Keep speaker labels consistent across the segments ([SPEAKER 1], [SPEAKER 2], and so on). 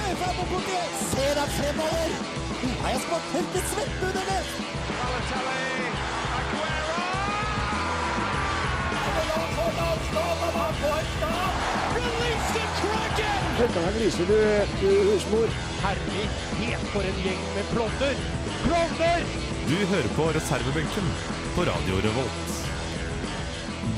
[SPEAKER 1] Andy ser deg fremover. Nei, jeg skal tente svetten under det.
[SPEAKER 2] Dette gliser du, du husmor.
[SPEAKER 3] Herlighet, for en gjeng med klovner! Klovner!
[SPEAKER 4] Du hører på reservebenken på Radio Revolt.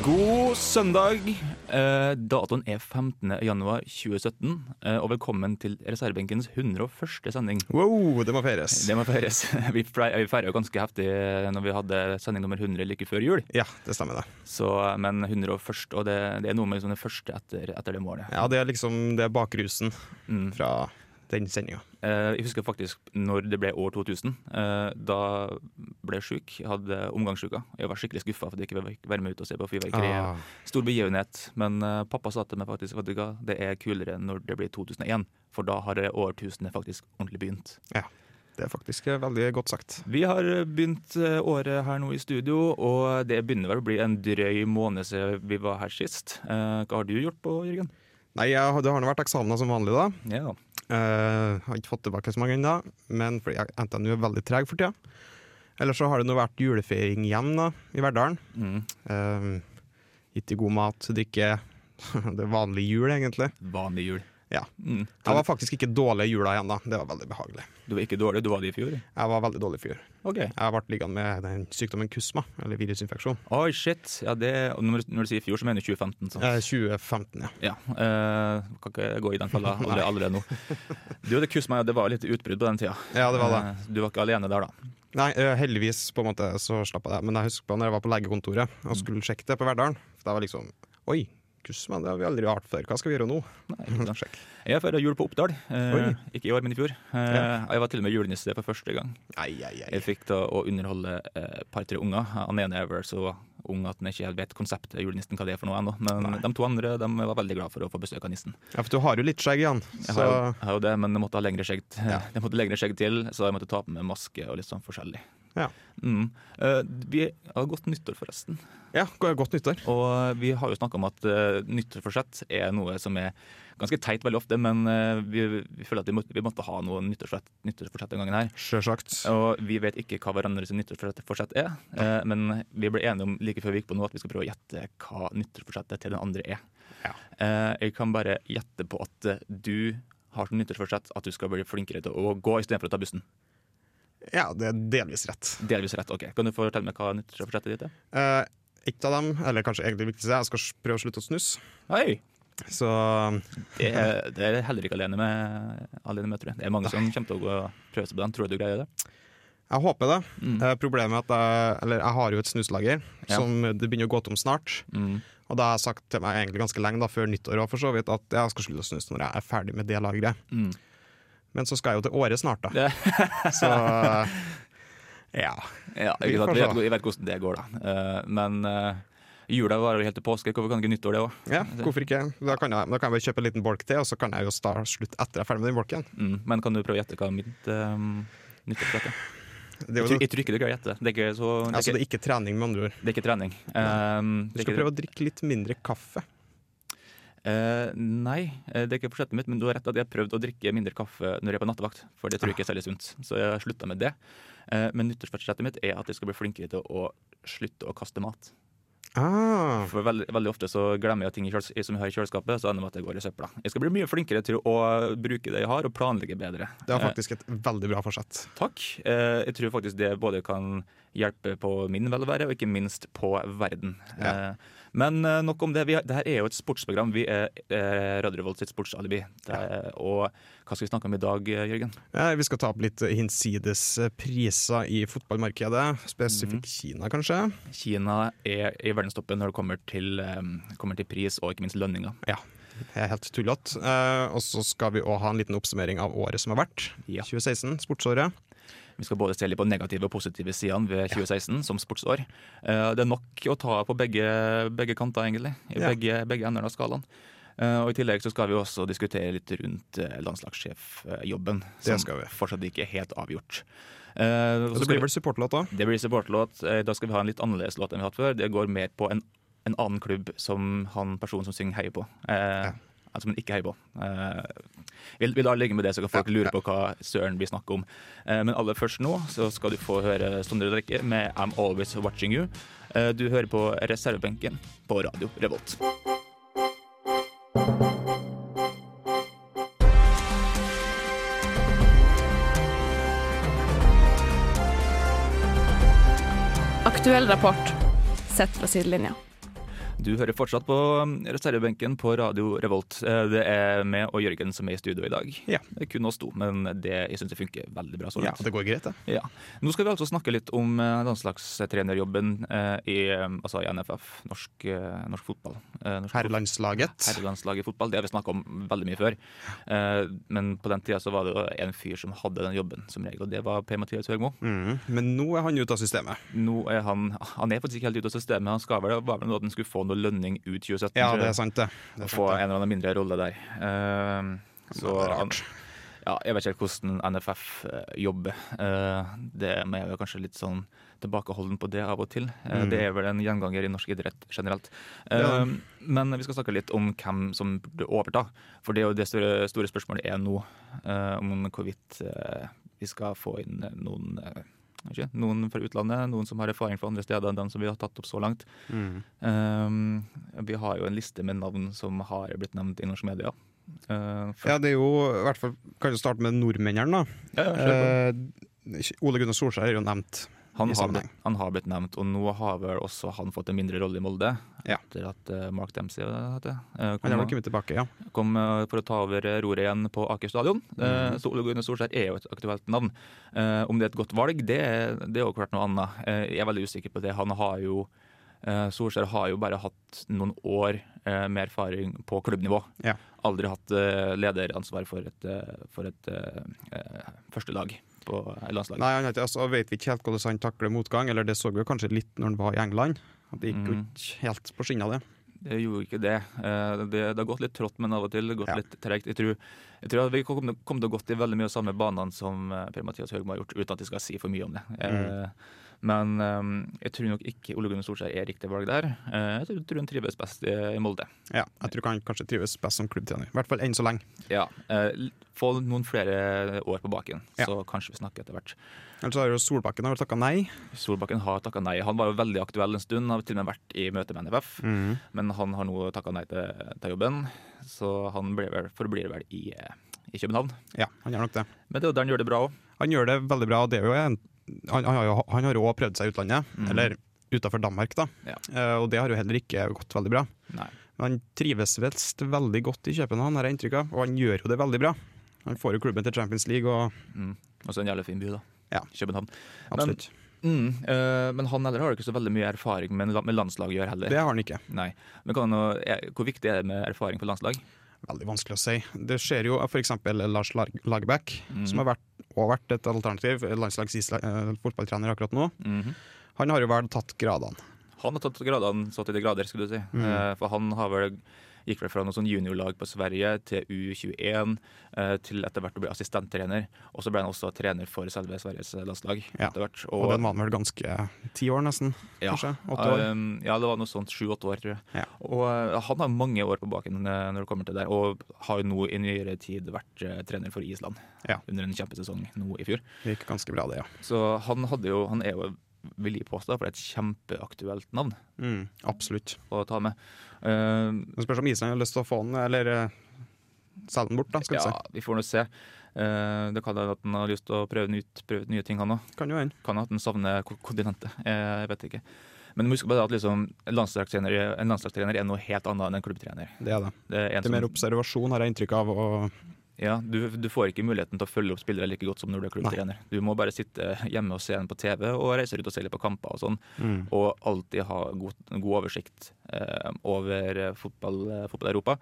[SPEAKER 4] God søndag. Eh, datoen er 15. januar 2017, eh, og velkommen til reservebenkens 101. sending.
[SPEAKER 5] Wow, det må feires.
[SPEAKER 4] Det må feires. Vi feirer vi feirer jo ganske heftig eh, når vi hadde sending nummer 100 like før jul.
[SPEAKER 5] Ja, det stemmer det.
[SPEAKER 4] Så, eh, men 101, og det, det er noe med liksom det første etter, etter det målet.
[SPEAKER 5] Ja, Det er liksom det er bakrusen
[SPEAKER 4] Mm.
[SPEAKER 5] fra den sendinga.
[SPEAKER 4] Eh, jeg husker faktisk når det ble år 2000. Eh, da ble jeg sjuk. Jeg hadde omgangssjuka. Jeg var skikkelig skuffa for at jeg ikke fikk være med ut og se på fyrverkeri.
[SPEAKER 5] Ah.
[SPEAKER 4] Stor begivenhet. Men eh, pappa sa til meg faktisk at det er kulere når det blir 2001, for da har årtusenet faktisk ordentlig begynt.
[SPEAKER 5] Ja, det er faktisk eh, veldig godt sagt.
[SPEAKER 4] Vi har begynt eh, året her nå i studio, og det begynner vel å bli en drøy måned siden vi var her sist. Eh, hva har du gjort på, Jørgen?
[SPEAKER 5] Nei, jeg, Det har nå vært eksamener som vanlig, da.
[SPEAKER 4] Ja,
[SPEAKER 5] Eh, har ikke fått tilbake så mange ennå, men fordi jeg- NTNU er veldig treg for tida. Eller så har det nå vært julefeiring hjem da, i Verdalen.
[SPEAKER 4] mm.
[SPEAKER 5] Uh, gitt i god mat, drikke. Det er vanlig jul, egentlig.
[SPEAKER 4] Vanlig jul.
[SPEAKER 5] Ja.
[SPEAKER 4] Mm.
[SPEAKER 5] Jeg var faktisk ikke dårlig i jula igjen, da. Det var veldig behagelig.
[SPEAKER 4] Du var ikke dårlig, du var det i fjor.
[SPEAKER 5] Jeg var veldig dårlig i fjor.
[SPEAKER 4] Okay.
[SPEAKER 5] Jeg ble liggende med den sykdommen kusma, eller virusinfeksjon.
[SPEAKER 4] Oi, shit. Ja, det, og når, når du sier i fjor, så mener du 2015. sant?
[SPEAKER 5] Eh, 2015,
[SPEAKER 4] Ja.
[SPEAKER 5] ja.
[SPEAKER 4] eh, kan ikke gå i den fella allerede, allerede nå. Du, det kusset meg, det var litt utbrudd på den tida.
[SPEAKER 5] Ja, det var det.
[SPEAKER 4] Eh, Du var ikke alene der, da.
[SPEAKER 5] Nei, eh, heldigvis på en måte så slapp jeg det. Men jeg husker på når jeg var på legekontoret og skulle sjekke det på Verdalen. For da var liksom Oi, kusma, det har vi aldri hatt før. Hva skal vi gjøre nå?
[SPEAKER 4] Nei, ikke sant. Jeg feira jul på Oppdal. eh,
[SPEAKER 5] Mm, Oi.
[SPEAKER 4] ikke i år, men i fjor. Eh, Jeg var til og med julenisse for første gang.
[SPEAKER 5] Nei, nei, nei.
[SPEAKER 4] Jeg fikk da å underholde eh, et par-tre unger. Han ene er vel så ung at han ikke helt vet konseptet julenissen hva det er for noe ennå. Men de to andre de var veldig glad for å få besøk av nissen.
[SPEAKER 5] Ja, for du har jo litt skjegg igjen.
[SPEAKER 4] Jeg
[SPEAKER 5] Så
[SPEAKER 4] har, jo, jeg har jo det, men jeg måtte ha lengre skjegg, jeg måtte lengre skjegg til, så jeg måtte ta på meg maske og litt sånn forskjellig.
[SPEAKER 5] ja.
[SPEAKER 4] Mm. Eh, vi har godt nyttår, forresten.
[SPEAKER 5] ja, go- godt nyttår.
[SPEAKER 4] Og vi har jo snakka om at uh, nyttårsforsett er noe som er ganske teit veldig ofte, men eh, vi, vi føler at vi måtte, vi måtte ha noe nyttårsforsett, nyttårsforsett den gangen her.
[SPEAKER 5] Sjølsagt.
[SPEAKER 4] Og vi vet ikke hva hverandres nyttårsforsett er, eh, men vi ble enige om like før vi gikk på nå at vi skal prøve å gjette hva nyttårsforsettet til den andre er.
[SPEAKER 5] Ja.
[SPEAKER 4] Eh, jeg kan bare gjette på at eh, du har som nyttårsforsett at du skal bli flinkere til å gå istedenfor å ta bussen.
[SPEAKER 5] Ja, det er delvis rett.
[SPEAKER 4] Delvis rett, ok. Kan du fortelle meg hva nyttårsforsettet ditt er?
[SPEAKER 5] Eh, et av dem, eller kanskje egentlig det viktigste, jeg skal s- prøve å slutte å snus.
[SPEAKER 4] Hei!
[SPEAKER 5] Så
[SPEAKER 4] Det er, det er heller ikke alene med, alene med, tror jeg. Det er mange som kommer til å gå og prøve seg på den. Tror du du greier det?
[SPEAKER 5] jeg håper det.
[SPEAKER 4] Mm.
[SPEAKER 5] Eh, problemet er at jeg, eller jeg har jo et snuslager
[SPEAKER 4] Ja.
[SPEAKER 5] som det begynner å gå tom snart.
[SPEAKER 4] Mm.
[SPEAKER 5] Og da har jeg sagt til meg egentlig ganske lenge da, før nyttår også, for så vidt, at jeg skal slutte å snuse når jeg er ferdig med det lageret.
[SPEAKER 4] Mm.
[SPEAKER 5] Men så skal jeg jo til året snart, da.
[SPEAKER 4] Ja.
[SPEAKER 5] så ja.
[SPEAKER 4] Ja,
[SPEAKER 5] Vi
[SPEAKER 4] ikke sant? Jeg, vet,
[SPEAKER 5] får se.
[SPEAKER 4] jeg vet hvordan det går, da. Eh, men eh, jula varer jo helt til påske. Hvorfor kan ikke nyttår det òg?
[SPEAKER 5] ja, hvorfor ikke? Da kan, jeg, da kan jeg bare kjøpe en liten bolk til, og så kan jeg jo starte slutt etter jeg er ferdig med den bolken.
[SPEAKER 4] Mm. Men kan du prøve å gjette hva mitt um, nyttårsforsett er?
[SPEAKER 5] Det
[SPEAKER 4] Jeg
[SPEAKER 5] er,
[SPEAKER 4] tror,
[SPEAKER 5] jo,
[SPEAKER 4] jeg tror ikke du greier å gjette. Det er ikke, så, det
[SPEAKER 5] altså,
[SPEAKER 4] er
[SPEAKER 5] det
[SPEAKER 4] ikke,
[SPEAKER 5] er ikke trening, med andre ord.
[SPEAKER 4] det er ikke trening. Um,
[SPEAKER 5] Du skal prøve å drikke litt mindre kaffe.
[SPEAKER 4] nei, eh, det er ikke forsettet mitt, men du har rett at jeg har prøvd å drikke mindre kaffe når jeg er på nattevakt. For det tror jeg ikke er særlig sunt. Så jeg har slutta med det. Eh, men nyttårsforsettet mitt er at jeg skal bli flinkere til å slutte å kaste mat.
[SPEAKER 5] Ah,
[SPEAKER 4] For veldig, veldig ofte så glemmer jeg ting i kjøles- som jeg har i kjøleskapet, så ender det med at det går i søpla. Jeg skal bli mye flinkere til å bruke det jeg har, og planlegge bedre.
[SPEAKER 5] det var faktisk et veldig bra forsett.
[SPEAKER 4] Eh, takk. Eh, jeg tror faktisk det både kan hjelpe på min velvære, og ikke minst på verden.
[SPEAKER 5] Ja.
[SPEAKER 4] Eh, men eh, nok om det. Vi har, det her er jo et sportsprogram. Vi er eh, Radio Revolt sitt sportsalibi. Det er, og hva skal vi snakke om i dag, eh, Jørgen?
[SPEAKER 5] Eh, Vi skal ta opp litt hinsides eh, priser i fotballmarkedet, spesifikt Kina, kanskje.
[SPEAKER 4] Kina er i verdenstoppen når det kommer til, eh, kommer til pris og ikke minst lønninger.
[SPEAKER 5] Ja, det er helt tullete. Eh, og så skal vi òg ha en liten oppsummering av året som har vært.
[SPEAKER 4] Ja.
[SPEAKER 5] 2016, sportsåret.
[SPEAKER 4] Vi skal både se litt på negative og positive sidene ved 2016 som sportsår. Eh, Det er nok å ta på begge, begge kanter, egentlig. I
[SPEAKER 5] Ja.
[SPEAKER 4] begge, begge ender av skalaen. Eh, Og I tillegg så skal vi også diskutere litt rundt eh, landslagssjefjobben,
[SPEAKER 5] Det
[SPEAKER 4] som
[SPEAKER 5] skal vi.
[SPEAKER 4] fortsatt ikke er helt avgjort. Eh, og
[SPEAKER 5] Og så
[SPEAKER 4] så
[SPEAKER 5] blir
[SPEAKER 4] blir
[SPEAKER 5] det vel supportlåt òg.
[SPEAKER 4] det blir supportlåt. Eh, Da skal vi ha en litt annerledes låt enn vi har hatt før. Det går mer på en, en annen klubb som han personen som synger, heier på. Eh, Altså, men ikke heier på. Eh, Vi, vi lar ligge med det, så kan folk lure på hva søren vi snakker om. Eh, men aller først nå så skal du få høre Sondre Drekke med I'm Always Watching You. Eh, du hører på reservebenken på Radio Revolt.
[SPEAKER 6] Aktuell rapport sett fra sidelinja.
[SPEAKER 4] Du hører fortsatt på um, reservebenken på Radio Revolt. Eh, Det er meg og Jørgen som er i studio i dag.
[SPEAKER 5] Ja.
[SPEAKER 4] Det er kun oss to, men det, jeg syns det funker veldig bra så
[SPEAKER 5] Ja,
[SPEAKER 4] langt.
[SPEAKER 5] det går greit, det.
[SPEAKER 4] Ja. Nå skal vi altså snakke litt om eh, landslagstrenerjobben eh, i, eh, altså i NFF, norsk, eh, norsk fotball. Eh, norsk
[SPEAKER 5] Herrelandslaget.
[SPEAKER 4] Herrelandslaget i fotball, det har vi snakka om veldig mye før. Eh, Men på den tida så var det jo en fyr som hadde den jobben, som regel, og det var Per-Mathias Høgmo.
[SPEAKER 5] Mm. Men nå er han ute av systemet.
[SPEAKER 4] Nå er han Han er faktisk ikke helt ute av systemet, han skal vel, var vel noe at han skulle få noe lønning ut 2017.
[SPEAKER 5] Ja,
[SPEAKER 4] tror jeg.
[SPEAKER 5] det er sant, det. det,
[SPEAKER 4] Å
[SPEAKER 5] er
[SPEAKER 4] få
[SPEAKER 5] sant, det.
[SPEAKER 4] en eller annen mindre rolle der. Eh, så
[SPEAKER 5] det er
[SPEAKER 4] han,
[SPEAKER 5] rart.
[SPEAKER 4] ja, jeg vet ikke helt hvordan NFF eh, jobber. Eh, det men jeg er jo kanskje litt sånn tilbakeholden på det av og til. Eh, Det er vel en gjenganger i norsk idrett generelt. Eh,
[SPEAKER 5] Mm. Ja.
[SPEAKER 4] Men vi skal snakke litt om hvem som burde overta. For det er jo det store, store spørsmålet er nå, eh, om hvorvidt eh, vi skal få inn noen eh, ikke, noen fra utlandet, noen som har erfaring fra andre steder enn den som vi har tatt opp så langt.
[SPEAKER 5] Mm.
[SPEAKER 4] Um, vi har jo en liste med navn som har blitt nevnt i norske medier. Uh, for,
[SPEAKER 5] Ja, det er jo i hvert fall Kan jo starte med nordmennene, da.
[SPEAKER 4] Ja, ja, kjør på.
[SPEAKER 5] Eh, Ole Gunnar Solskjær er jo nevnt.
[SPEAKER 4] han,
[SPEAKER 5] i
[SPEAKER 4] har blitt,
[SPEAKER 5] sammenheng.
[SPEAKER 4] han har blitt nevnt, og nå har vel også han fått en mindre rolle i Molde.
[SPEAKER 5] Ja.
[SPEAKER 4] Etter at eh, Mark Dempsey eh, heter det, eh,
[SPEAKER 5] Han
[SPEAKER 4] kom,
[SPEAKER 5] er vel kommet tilbake, ja.
[SPEAKER 4] kom eh, for å ta over eh, roret igjen på Aker stadion. Eh,
[SPEAKER 5] Mhm.
[SPEAKER 4] Så Ole Gunnar Solskjær er jo et aktuelt navn. Eh, om det er et godt valg, det, er- det er jo klart noe annet. Eh, jeg er veldig usikker på det. Han har jo eh, Solskjær har jo bare hatt noen år eh, med erfaring på klubbnivå.
[SPEAKER 5] Ja.
[SPEAKER 4] Aldri hatt eh, lederansvar for et, eh, for et eh, eh, førstelag på eh, landslaget.
[SPEAKER 5] Nei, han heter, altså, vet vi ikke helt hvordan han takler motgang, eller det så vi jo kanskje litt når han var i England. At det gikk jo
[SPEAKER 4] Mm.
[SPEAKER 5] ikke helt på skinna, det.
[SPEAKER 4] Det gjorde ikke det. Eh, det. Det har gått litt trått, men av og til gått
[SPEAKER 5] Ja.
[SPEAKER 4] litt tregt. Jeg tror, jeg tror at vi kom til- kom til å gått i veldig mye av samme banene som eh, Per-Mathias Høgmo har gjort, uten at jeg skal si for mye om det. Eh,
[SPEAKER 5] Mm.
[SPEAKER 4] Men eh, jeg tror nok ikke Ole Gunnar Solskjær er riktig valg der. Eh, jeg tror, tror han trives best i, i Molde.
[SPEAKER 5] Ja, jeg tror han kanskje trives best som klubbtrener. I hvert fall enn så lenge.
[SPEAKER 4] Ja, eh, l- Få noen flere år på baken,
[SPEAKER 5] Ja.
[SPEAKER 4] så kanskje vi snakker etter hvert.
[SPEAKER 5] Ellers har jo Solbakken har vel takka nei.
[SPEAKER 4] Solbakken har takka nei. Han var jo veldig aktuell en stund, har til og med vært i møte med NFF. Men han har nå takka nei til, til jobben, så han blir vel, forblir vel i, eh, i København.
[SPEAKER 5] Ja, han gjør nok det.
[SPEAKER 4] Men det er jo der han gjør det bra òg.
[SPEAKER 5] Han gjør det veldig bra. og Det er jo en, han, han har jo han har jo også prøvd seg i utlandet,
[SPEAKER 4] Mm.
[SPEAKER 5] eller utenfor Danmark, da.
[SPEAKER 4] Ja.
[SPEAKER 5] Eh, og det har jo heller ikke gått veldig bra.
[SPEAKER 4] Nei.
[SPEAKER 5] Men han trives visst veldig godt i København, har jeg inntrykk av, og han gjør jo det veldig bra. Han får jo klubben til Champions League og
[SPEAKER 4] Og så en jævlig fin by, da.
[SPEAKER 5] Ja.
[SPEAKER 4] København.
[SPEAKER 5] absolutt.
[SPEAKER 4] Men, mm, eh, men han heller har jo ikke så veldig mye erfaring med, med landslaget å gjøre heller.
[SPEAKER 5] det har han ikke.
[SPEAKER 4] Nei. Men kan han, jo- er, hvor viktig er det med erfaring for landslag?
[SPEAKER 5] Veldig vanskelig å si. Det skjer jo f.eks. Lars Lar- Lagerbäck,
[SPEAKER 4] Mm.
[SPEAKER 5] som har vært, også vært et alternativ, landslagsfotballtrener akkurat nå.
[SPEAKER 4] Mhm.
[SPEAKER 5] Han har jo vel tatt gradene.
[SPEAKER 4] Han har tatt gradene så til de grader, skulle du si.
[SPEAKER 5] Mm.
[SPEAKER 4] Eh, for han har vel gikk vel fra noe sånn juniorlag på Sverige til U21, eh, til etter hvert å bli assistenttrener. Og så ble han også trener for selve Sveriges landslag
[SPEAKER 5] Ja.
[SPEAKER 4] etter hvert.
[SPEAKER 5] Og, den var han vel ganske eh, ti år, nesten.
[SPEAKER 4] ja,
[SPEAKER 5] kanskje? Åtte år.
[SPEAKER 4] um, ja, det var noe sånt sju-åtte år, tror jeg.
[SPEAKER 5] Ja.
[SPEAKER 4] Og eh, han har mange år på baken eh, når det kommer til det, og har jo nå i nyere tid vært eh, trener for Island
[SPEAKER 5] Ja.
[SPEAKER 4] under en kjempesesong nå i fjor.
[SPEAKER 5] Det gikk ganske bra, det, ja.
[SPEAKER 4] Så han hadde jo Han er jo, vil jeg påstå, for det er et kjempeaktuelt navn
[SPEAKER 5] Mm, Absolutt.
[SPEAKER 4] å ta med. Eh,
[SPEAKER 5] Det spørs om Island har lyst til å få han, eller eh, selge han bort, da, skal vi
[SPEAKER 4] Ja, vi får nå se. Eh, Det kan hende at han har lyst til å prøve, nytt, prøve ut nye ting, han òg.
[SPEAKER 5] se. Kan jo hende.
[SPEAKER 4] Kan hende at han savner ko- kontinentet. Eh, Jeg vet ikke. Men husk på det at liksom, en landslagstrener, en landslagstrener er noe helt annet enn en klubbtrener.
[SPEAKER 5] Det er det.
[SPEAKER 4] Det er en
[SPEAKER 5] Det er mer
[SPEAKER 4] som,
[SPEAKER 5] observasjon, har jeg inntrykk av. Og
[SPEAKER 4] ja, du, du får ikke muligheten til å følge opp spillere like godt som når du er klubbtrener. Du må bare sitte hjemme og se den på TV, og reise ut og se litt på kamper og sånn.
[SPEAKER 5] mm.
[SPEAKER 4] Og alltid ha god, god oversikt eh, over eh, fotball, eh, fotball-Europa.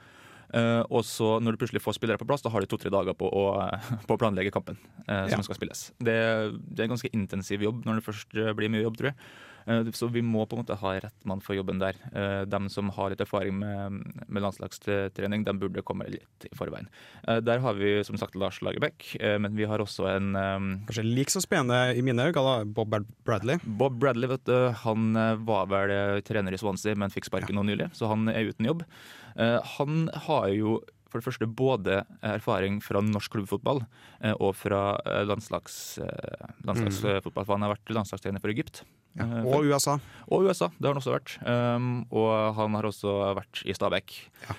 [SPEAKER 4] Eh, og så når du plutselig får spillere på plass, da har du to-tre dager på å, på å planlegge kampen eh, som
[SPEAKER 5] Ja.
[SPEAKER 4] skal spilles. Det, det er en ganske intensiv jobb når det først eh, blir mye jobb, tror jeg. Eh, så vi må på en måte ha rett mann for jobben der. Eh, dem som har litt erfaring med, med landslagstrening, de burde komme litt i forveien. Eh, der har vi som sagt Lars Lagerbäck, eh, men vi har også en eh,
[SPEAKER 5] kanskje like så spennende i mine øyne, da, Bob Brad- Bradley.
[SPEAKER 4] Bob Bradley vet du, han eh, var vel eh, trener i Swansea, men fikk sparken nå nylig, så han er uten jobb. Eh, Han har jo for det første både erfaring fra norsk klubbfotball eh, og fra eh, landslags, eh, landslagsfotball. For han har vært landslagstrener for Egypt.
[SPEAKER 5] Ja.
[SPEAKER 4] Eh,
[SPEAKER 5] Og USA.
[SPEAKER 4] og USA, det har han også vært. Um, og han har også vært i Stabæk.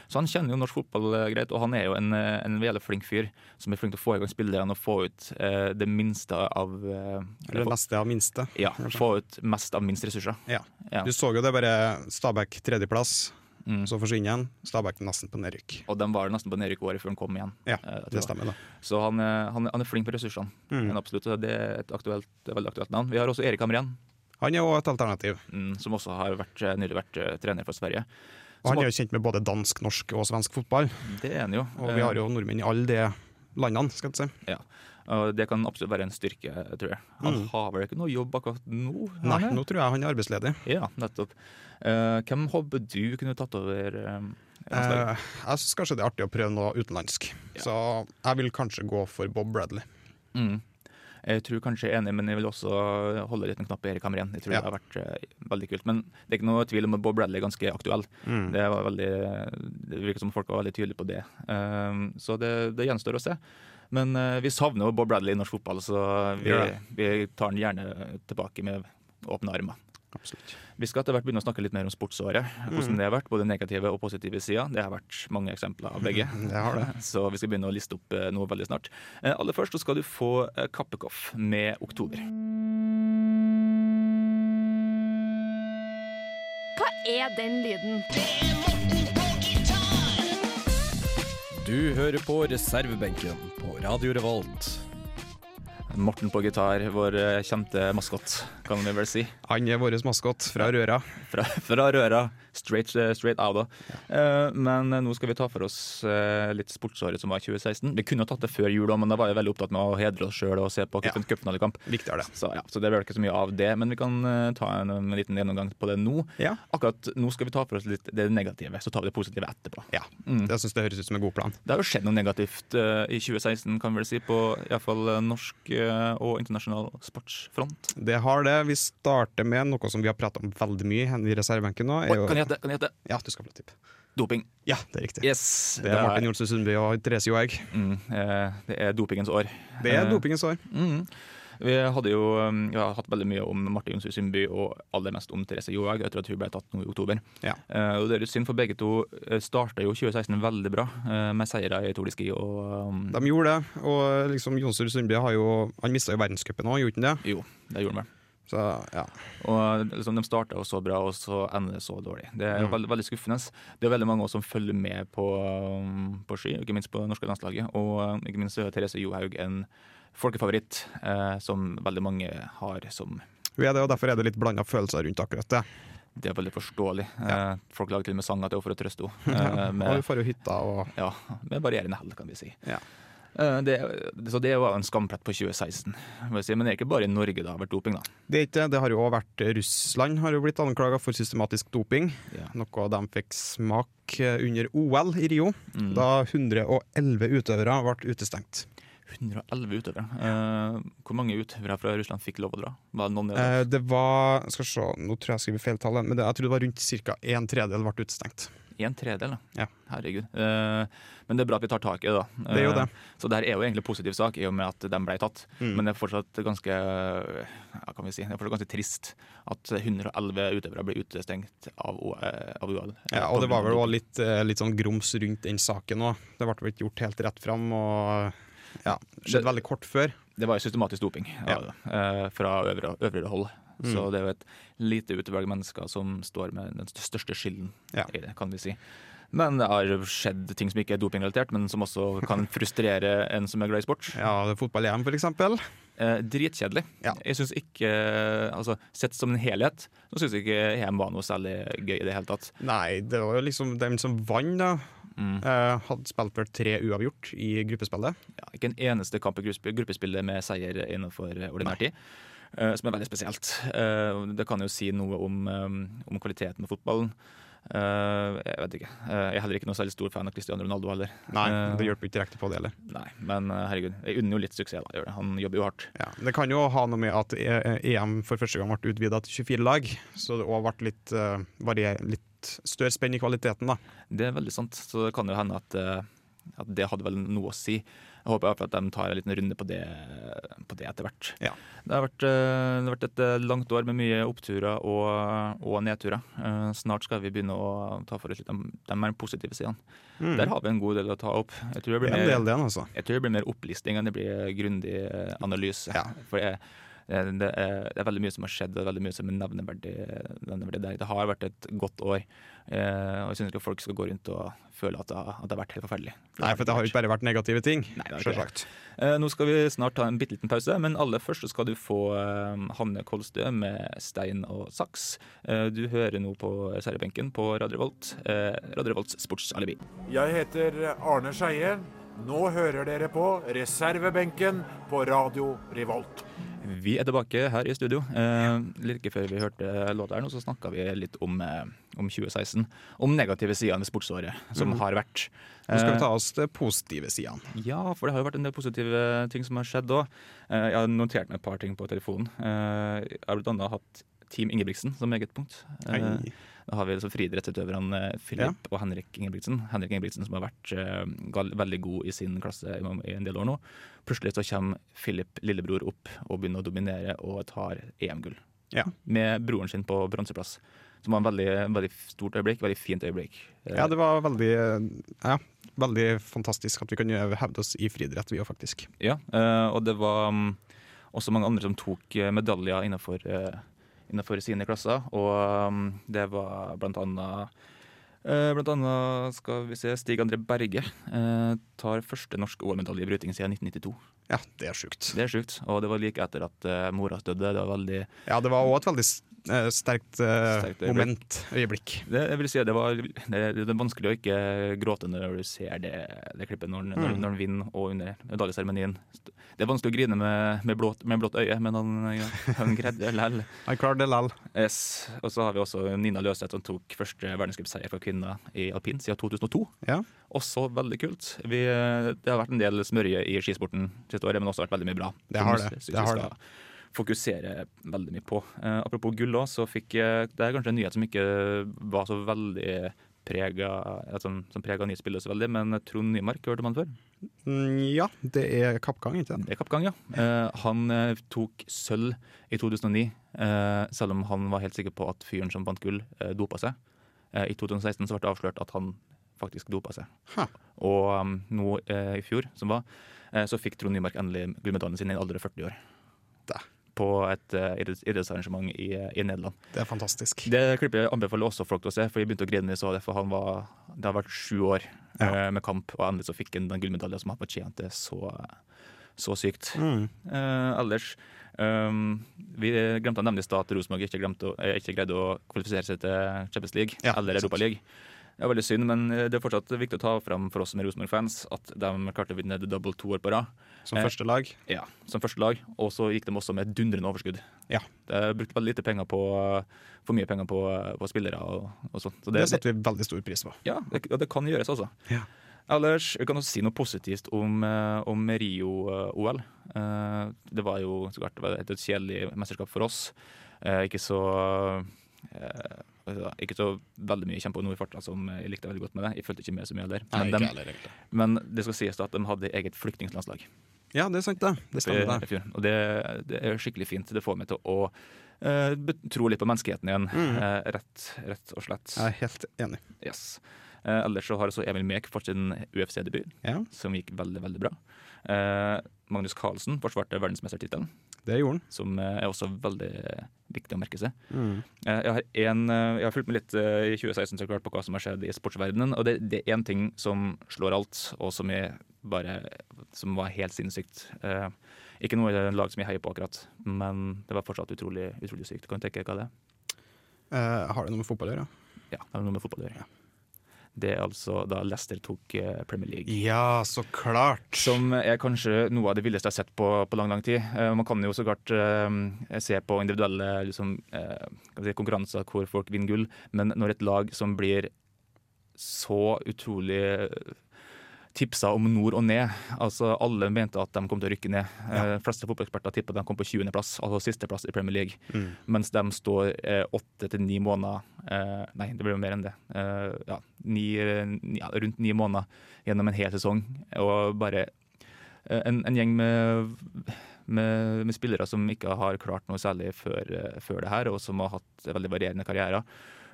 [SPEAKER 4] Så han kjenner jo norsk fotball eh, greit, og han er jo en, eh, en veldig flink fyr som er flink til å få i gang spillerne og få ut eh, det minste av eh,
[SPEAKER 5] Eller det meste av minste.
[SPEAKER 4] Ja, få ut mest av minst ressurser.
[SPEAKER 5] Ja.
[SPEAKER 4] Ja.
[SPEAKER 5] Du så jo det bare Stabæk tredjeplass,
[SPEAKER 4] Mm.
[SPEAKER 5] så forsvinner han. Stabæk nesten på nedrykk.
[SPEAKER 4] Og de var nesten på nedrykk året før han kom igjen.
[SPEAKER 5] Ja,
[SPEAKER 4] Eh, jeg tror
[SPEAKER 5] det
[SPEAKER 4] det. Mm.
[SPEAKER 5] stemmer, Mm. da.
[SPEAKER 4] Så han, eh, han, han er flink med ressursene. Men absolutt, Det er et aktuelt, det er veldig aktuelt navn. Vi har også Erik Hamren,
[SPEAKER 5] Han er jo et alternativ.
[SPEAKER 4] mm, som også har vært, eh, nylig vært eh, trener for Sverige.
[SPEAKER 5] Og han
[SPEAKER 4] Så-
[SPEAKER 5] er jo kjent med både dansk, norsk og svensk fotball.
[SPEAKER 4] Det er han jo.
[SPEAKER 5] Og vi har jo nordmenn i alle de landene, skal jeg si.
[SPEAKER 4] Ja, Eh, og det kan absolutt være en styrke, tror jeg. Han har vel ikke noe jobb akkurat nå? har
[SPEAKER 5] Mm. Nei,
[SPEAKER 4] han det?
[SPEAKER 5] nå tror jeg han er arbeidsledig.
[SPEAKER 4] Ja, nettopp. Eh, hvem håper du kunne tatt over? eh, landslaget?
[SPEAKER 5] Eh, jeg syns kanskje det er artig å prøve noe utenlandsk, så jeg vil kanskje gå for Bob Bradley.
[SPEAKER 4] mm. Jeg tror kanskje jeg er enig, men jeg vil også holde litt en knapp på Erik Hamren. Jeg tror
[SPEAKER 5] Ja.
[SPEAKER 4] det har vært eh, veldig kult. Men det er ikke noe tvil om at Bob Bradley er ganske aktuell.
[SPEAKER 5] Mm.
[SPEAKER 4] Det, var veldig, det virker som folk var veldig tydelige på det. Eh, så det, det gjenstår å se. Men eh, vi savner jo Bob Bradley i norsk fotball, så vi,
[SPEAKER 5] Gjør det.
[SPEAKER 4] vi tar han gjerne tilbake med åpne armer.
[SPEAKER 5] Absolutt.
[SPEAKER 4] Vi skal etter hvert begynne å snakke litt mer om sportsåret.
[SPEAKER 5] Mm.
[SPEAKER 4] Hvordan det har vært, både negative og positive sider. Det har vært mange eksempler av begge.
[SPEAKER 5] Det har det.
[SPEAKER 4] Så vi skal begynne å liste opp eh, noe veldig snart. Eh, Aller først så skal du få eh, Kappekoff med 'Oktober'.
[SPEAKER 7] Hva er den lyden?
[SPEAKER 8] Du hører på reservebenken på Radio Revolt.
[SPEAKER 4] Morten på gitar, vår eh, kjente maskot, kan vi vel si.
[SPEAKER 5] Han er vår maskot fra Røra.
[SPEAKER 4] Fra, fra røra. Straight, eh, straight out, da. Eh, Men eh, nå skal vi ta for oss eh, litt sportsåret som var 2016. Vi kunne jo tatt det før jul òg, men da var jeg veldig opptatt med å hedre oss sjøl og se på
[SPEAKER 5] Ja.
[SPEAKER 4] en cupfinalekamp.
[SPEAKER 5] Viktig er det.
[SPEAKER 4] Så, ja, så det blir ikke så mye av det, men vi kan eh, ta en, en liten gjennomgang på det nå.
[SPEAKER 5] Ja.
[SPEAKER 4] Akkurat nå skal vi ta for oss litt det negative, så tar vi det positive etterpå. Mm.
[SPEAKER 5] Ja, Det syns jeg høres ut som en god plan.
[SPEAKER 4] Det har jo skjedd noe negativt eh, i 2016, kan vi vel si, på iallfall norsk eh, og internasjonal sportsfront.
[SPEAKER 5] Det har det. Vi starter med noe som vi har prata om veldig mye her i reservebenken nå.
[SPEAKER 4] Oi, kan jeg hete, kan jeg hete
[SPEAKER 5] Ja, du skal få tipp.
[SPEAKER 4] doping?
[SPEAKER 5] Ja, det er riktig.
[SPEAKER 4] Yes!
[SPEAKER 5] Det er Martin Johnsen Sundby og Therese Johaug.
[SPEAKER 4] Mm, eh, det er dopingens år.
[SPEAKER 5] Det er
[SPEAKER 4] Eh,
[SPEAKER 5] dopingens år.
[SPEAKER 4] Mm. Vi hadde jo um, vi har hatt veldig mye om Marte Jonsrud Sundby og aller mest om Therese Johaug etter at hun ble tatt nå i oktober.
[SPEAKER 5] Ja.
[SPEAKER 4] Eh, og Det er litt synd, for begge to eh, starta jo 2016 veldig bra eh, med seire i Tour de Ski og um,
[SPEAKER 5] De gjorde det, og liksom Jonsrud Sundby har jo Han mista jo verdenscupen òg, gjorde han det?
[SPEAKER 4] Jo, det gjorde de vel.
[SPEAKER 5] Så ja.
[SPEAKER 4] Og liksom, De starta jo så bra, og så ender det så dårlig. Det er jo
[SPEAKER 5] Mm.
[SPEAKER 4] veld, veldig skuffende. Det er veldig mange også som følger med på, um, på ski, ikke minst på det norske landslaget. Og um, ikke minst er Therese Johaug en folkefavoritt eh, som veldig mange har som
[SPEAKER 5] Hun er det, og derfor er det litt blanda følelser rundt akkurat det.
[SPEAKER 4] Det er veldig forståelig. Eh, folk lager til og med sanger til henne for å trøste henne. Eh,
[SPEAKER 5] Ja. Og hun
[SPEAKER 4] med,
[SPEAKER 5] får jo hytta og
[SPEAKER 4] ja, med varierende hell, kan vi si.
[SPEAKER 5] Ja.
[SPEAKER 4] Eh, det, så det var en skamplett på 2016. må jeg Si. Men det er ikke bare i Norge det har vært doping, da.
[SPEAKER 5] Det er ikke det. Det har jo også vært eh, Russland har jo blitt anklaga for systematisk doping.
[SPEAKER 4] Ja.
[SPEAKER 5] Noe de fikk smak eh, under OL i Rio,
[SPEAKER 4] Mm.
[SPEAKER 5] da 111 utøvere ble utestengt.
[SPEAKER 4] 111 utøvere. Eh, hvor mange utøvere fra Russland fikk lov å dra? Var det noen i det?
[SPEAKER 5] Eh, Det var Skal se, nå tror jeg jeg skriver feil tall, men det, jeg tror det var rundt ca. en tredjedel ble utestengt.
[SPEAKER 4] En tredel, da.
[SPEAKER 5] Ja.
[SPEAKER 4] Herregud. Eh, men det er bra at vi tar tak i det, da.
[SPEAKER 5] Det er jo
[SPEAKER 4] Eh,
[SPEAKER 5] det. Mm.
[SPEAKER 4] Så det her er jo egentlig en positiv sak, i og med at de ble tatt. Men det er fortsatt ganske ja, kan vi si, det er fortsatt ganske trist at 111 utøvere ble utestengt av, O- eh, av OL.
[SPEAKER 5] Ja, og det var vel også litt, eh, litt sånn grums rundt den saken òg. Det ble vel ikke gjort helt rett fram, og ja, skjedde veldig kort før.
[SPEAKER 4] Det var jo systematisk doping ja. eh, fra øvre, øvre hold.
[SPEAKER 5] Mm.
[SPEAKER 4] Så det er jo et lite utvalg mennesker som står med den største skylden
[SPEAKER 5] Ja.
[SPEAKER 4] i det, kan vi si. Men det har skjedd ting som ikke er dopingrelatert, men som også kan frustrere en som er glad i sport.
[SPEAKER 5] Ja, det er fotball-EM, for eksempel.
[SPEAKER 4] Eh, dritkjedelig.
[SPEAKER 5] Ja.
[SPEAKER 4] Jeg synes ikke eh, altså, Sett som en helhet så syns jeg ikke EM var noe særlig gøy i det hele tatt. Mm.
[SPEAKER 5] Nei, det var jo liksom dem som vant, da. eh, Hadde spilt for tre uavgjort i gruppespillet.
[SPEAKER 4] Ja, ikke en eneste kamp i gruppe- gruppespillet med seier innenfor eh, ordinær tid. eh, som er veldig spesielt. Eh, det kan jo si noe om, eh, om kvaliteten med fotballen. Eh, jeg vet ikke. Eh, jeg er heller ikke noe særlig stor fan av Cristiano Ronaldo heller.
[SPEAKER 5] Nei,
[SPEAKER 4] Eh,
[SPEAKER 5] det hjelper ikke direkte på det heller.
[SPEAKER 4] nei, men eh, herregud, jeg unner jo litt suksess. da, gjør det. Han jobber jo hardt.
[SPEAKER 5] Ja, det kan jo ha noe med at E- E- EM for første gang ble utvida til 24 lag, så det òg ble litt, eh, varier- litt større spenn i kvaliteten, da.
[SPEAKER 4] Det er veldig sant. Så det kan jo hende at eh, At det hadde vel noe å si. Jeg håper i hvert fall at de tar en liten runde på det, på det etter hvert.
[SPEAKER 5] Ja.
[SPEAKER 4] Det har vært, eh, det har vært et eh, langt år med mye oppturer og, og nedturer. Eh, Snart skal vi begynne å ta for oss litt de, de mer positive sidene. Der har vi en god del å ta opp. Jeg tror det blir
[SPEAKER 5] Mm. Det er
[SPEAKER 4] mer,
[SPEAKER 5] en del, det, altså.
[SPEAKER 4] jeg tror det blir mer opplisting enn det blir grundig eh, analyse.
[SPEAKER 5] Ja.
[SPEAKER 4] For jeg, det, det, er, det er veldig mye som har skjedd, og det er veldig mye som er nevneverdig. nevneverdig der. Det har vært et godt år, eh, og jeg syns ikke folk skal gå rundt og føle at det, har- at det har vært helt forferdelig.
[SPEAKER 5] Nei, for det har jo ikke bare vært negative ting.
[SPEAKER 4] det har ikke
[SPEAKER 5] Selvsagt.
[SPEAKER 4] Eh, nå skal vi snart ta en bitte liten pause, men aller først så skal du få eh, Hanne Kolstø med stein og saks. Eh, du hører nå på reservebenken på Radio Revolt, eh, Radio Revolts sportsalibi.
[SPEAKER 9] Jeg heter Arne Skeie. Nå hører dere på reservebenken på Radio Revolt.
[SPEAKER 4] Vi er tilbake her i studio. Eh, like før vi hørte låta her nå, så snakka vi litt om, eh, om 2016. Om negative sider ved sportsåret som har vært.
[SPEAKER 5] Mm.
[SPEAKER 4] Eh,
[SPEAKER 5] Nå skal vi ta oss til positive sidene.
[SPEAKER 4] Ja, for det har jo vært en del positive ting som har skjedd òg. Eh, jeg har notert meg et par ting på telefonen. Eh, jeg har blant annet hatt Team Ingebrigtsen som eget punkt. Eh,
[SPEAKER 5] Hei.
[SPEAKER 4] da har vi liksom friidrettsutøverne eh, Philip og Henrik Ingebrigtsen. Henrik Ingebrigtsen som har vært eh, gal- veldig god i sin klasse i, i en del år nå. Plutselig så kommer Philip, lillebror, opp og begynner å dominere og tar EM-gull.
[SPEAKER 5] Ja.
[SPEAKER 4] Med broren sin på bronseplass. Som var en veldig, veldig stort øyeblikk, veldig fint øyeblikk. Eh,
[SPEAKER 5] Ja, det var veldig eh, Ja, veldig fantastisk at vi kunne hevde oss i friidrett, vi òg, faktisk.
[SPEAKER 4] Ja, eh, og det var mm, også mange andre som tok eh, medaljer innenfor, eh, innenfor sine klasser. Og mm, det var blant annet eh, Blant annet skal vi se Stig André Berge eh, tar første norske OL-medalje i bryting siden 1992.
[SPEAKER 5] Ja, det er sjukt.
[SPEAKER 4] Det er sjukt. Og det var like etter at eh, mora døde. Det var veldig
[SPEAKER 5] Ja, det var òg et veldig s- eh, sterkt, eh,
[SPEAKER 4] Sterkt øyeblikk.
[SPEAKER 5] moment, øyeblikk.
[SPEAKER 4] det, Jeg vil si at det var det, det er vanskelig å ikke gråte når du ser det, det klippet når, han- når, når han vinner og under medaljeseremonien. Det er vanskelig å grine med, med, blått, med blått øye, men han, han greide det likevel.
[SPEAKER 5] Jeg klarer det likevel.
[SPEAKER 4] Yes. Og så har vi også Nina Løseth, som tok første verdenscupseier for kvinner i alpin siden 2002.
[SPEAKER 5] Ja.
[SPEAKER 4] Også veldig kult. Vi, det har vært en del smørje i skisporten siste året, men også vært veldig mye bra.
[SPEAKER 5] Det har det.
[SPEAKER 4] Som
[SPEAKER 5] Det har
[SPEAKER 4] vi
[SPEAKER 5] det.
[SPEAKER 4] skal Fokusere veldig mye på. Eh, apropos gull òg, så fikk jeg Det er kanskje en nyhet som ikke var så veldig prega som, som prega nyhetsbildet så veldig, men Trond Nymark hørte man før.
[SPEAKER 5] Mm, ja, det er kappgang, ikke sant?
[SPEAKER 4] Det er kappgang, ja. Eh, han eh, tok sølv i 2009, eh, selv om han var helt sikker på at fyren som vant gull, eh, dopa seg. Eh, I 2016 så ble det avslørt at han faktisk dopa seg.
[SPEAKER 5] Ha.
[SPEAKER 4] Og um, nå eh, i fjor, som var, eh, så fikk Trond Nymark endelig gullmedaljen sin i en alder av 40 år.
[SPEAKER 5] Da.
[SPEAKER 4] På et eh, idretts- idrettsarrangement i, eh, i Nederland.
[SPEAKER 5] Det er fantastisk.
[SPEAKER 4] Det klippet anbefaler jeg også folk til å se, for jeg begynte å grine da jeg så det. For han var, det har vært sju år eh, med kamp, og endelig så fikk han den gullmedaljen som han fortjente så, så sykt.
[SPEAKER 5] Mm.
[SPEAKER 4] Eh, ellers ehm, Vi glemte å nevne i stad at Rosenborg ikke, glemte å- eh, ikke greide å kvalifisere seg til Champions League
[SPEAKER 5] Ja,
[SPEAKER 4] eller
[SPEAKER 5] sant.
[SPEAKER 4] Europaligaen. Det er veldig synd, men eh, det er fortsatt viktig å ta fram for oss som er Rosenborg-fans at de klarte å vinne The Double to år på rad.
[SPEAKER 5] Som
[SPEAKER 4] Eh,
[SPEAKER 5] første lag.
[SPEAKER 4] Ja, som første lag. Og så gikk de også med et dundrende overskudd.
[SPEAKER 5] Ja.
[SPEAKER 4] Det er brukt veldig lite penger på For mye penger på, på spillere og, og sånt. Så
[SPEAKER 5] Det
[SPEAKER 4] det, det,
[SPEAKER 5] setter vi veldig stor pris på.
[SPEAKER 4] ja, det, ja, det kan gjøres, altså.
[SPEAKER 5] Ja.
[SPEAKER 4] Ellers, vi kan også si noe positivt om, eh, om eh, Rio-OL. Eh, det var jo så klart det var et kjedelig mesterskap for oss. Eh, ikke så eh, altså, ikke så veldig mye kjempe nå i farta som jeg likte veldig godt med det. Jeg fulgte ikke med så mye heller. Men, dem- men det skal sies da at de hadde eget flyktninglandslag
[SPEAKER 5] Ja, det er sant, det. Det
[SPEAKER 4] i
[SPEAKER 5] stemmer, det.
[SPEAKER 4] i fjor. Og det, det er skikkelig fint. Det får meg til å eh, bet- tro litt på menneskeheten igjen, eh, rett, rett og slett.
[SPEAKER 5] Jeg er helt enig.
[SPEAKER 4] Yes. Eh, ellers så har også Emil Mek fått sin UFC-debut,
[SPEAKER 5] Ja,
[SPEAKER 4] som gikk veldig, veldig bra. Eh, Magnus Carlsen forsvarte verdensmestertittelen,
[SPEAKER 5] det gjorde han.
[SPEAKER 4] som eh, er også veldig eh, viktig å merke seg. Eh, jeg, har en, eh, jeg har fulgt med litt eh, i 2016 så klart på hva som har skjedd i sportsverdenen, og det, det er én ting som slår alt, og som, jeg bare, som var helt sinnssykt. Eh, ikke noe lag som jeg heier på akkurat, men det var fortsatt utrolig, utrolig sykt. Kan du tenke deg hva det er?
[SPEAKER 5] Eh, har det noe med fotball å gjøre?
[SPEAKER 4] Ja, det har noe med fotball å gjøre. Det er altså da Leicester tok eh, Premier League.
[SPEAKER 5] Ja, så klart!
[SPEAKER 4] Som er kanskje noe av det villeste jeg har sett på, på lang, lang tid. Eh, man kan jo så klart eh, se på individuelle liksom, eh, kan vi si, konkurranser hvor folk vinner gull, men når et lag som blir så utrolig tipsa eh, om nord og ned. Altså Alle mente at de kom til å rykke ned. Eh, fleste fotballeksperter tippa de kom på 20.-plass, altså sisteplass i Premier League.
[SPEAKER 5] Mm.
[SPEAKER 4] Mens de står eh, åtte til ni måneder eh, Nei, det blir jo mer enn det. Eh, ja, ni, ni, ja, rundt ni måneder gjennom en hel sesong. Og bare eh, en, en gjeng med, med, med spillere som ikke har klart noe særlig før, eh, før det her, og som har hatt veldig varierende karrierer.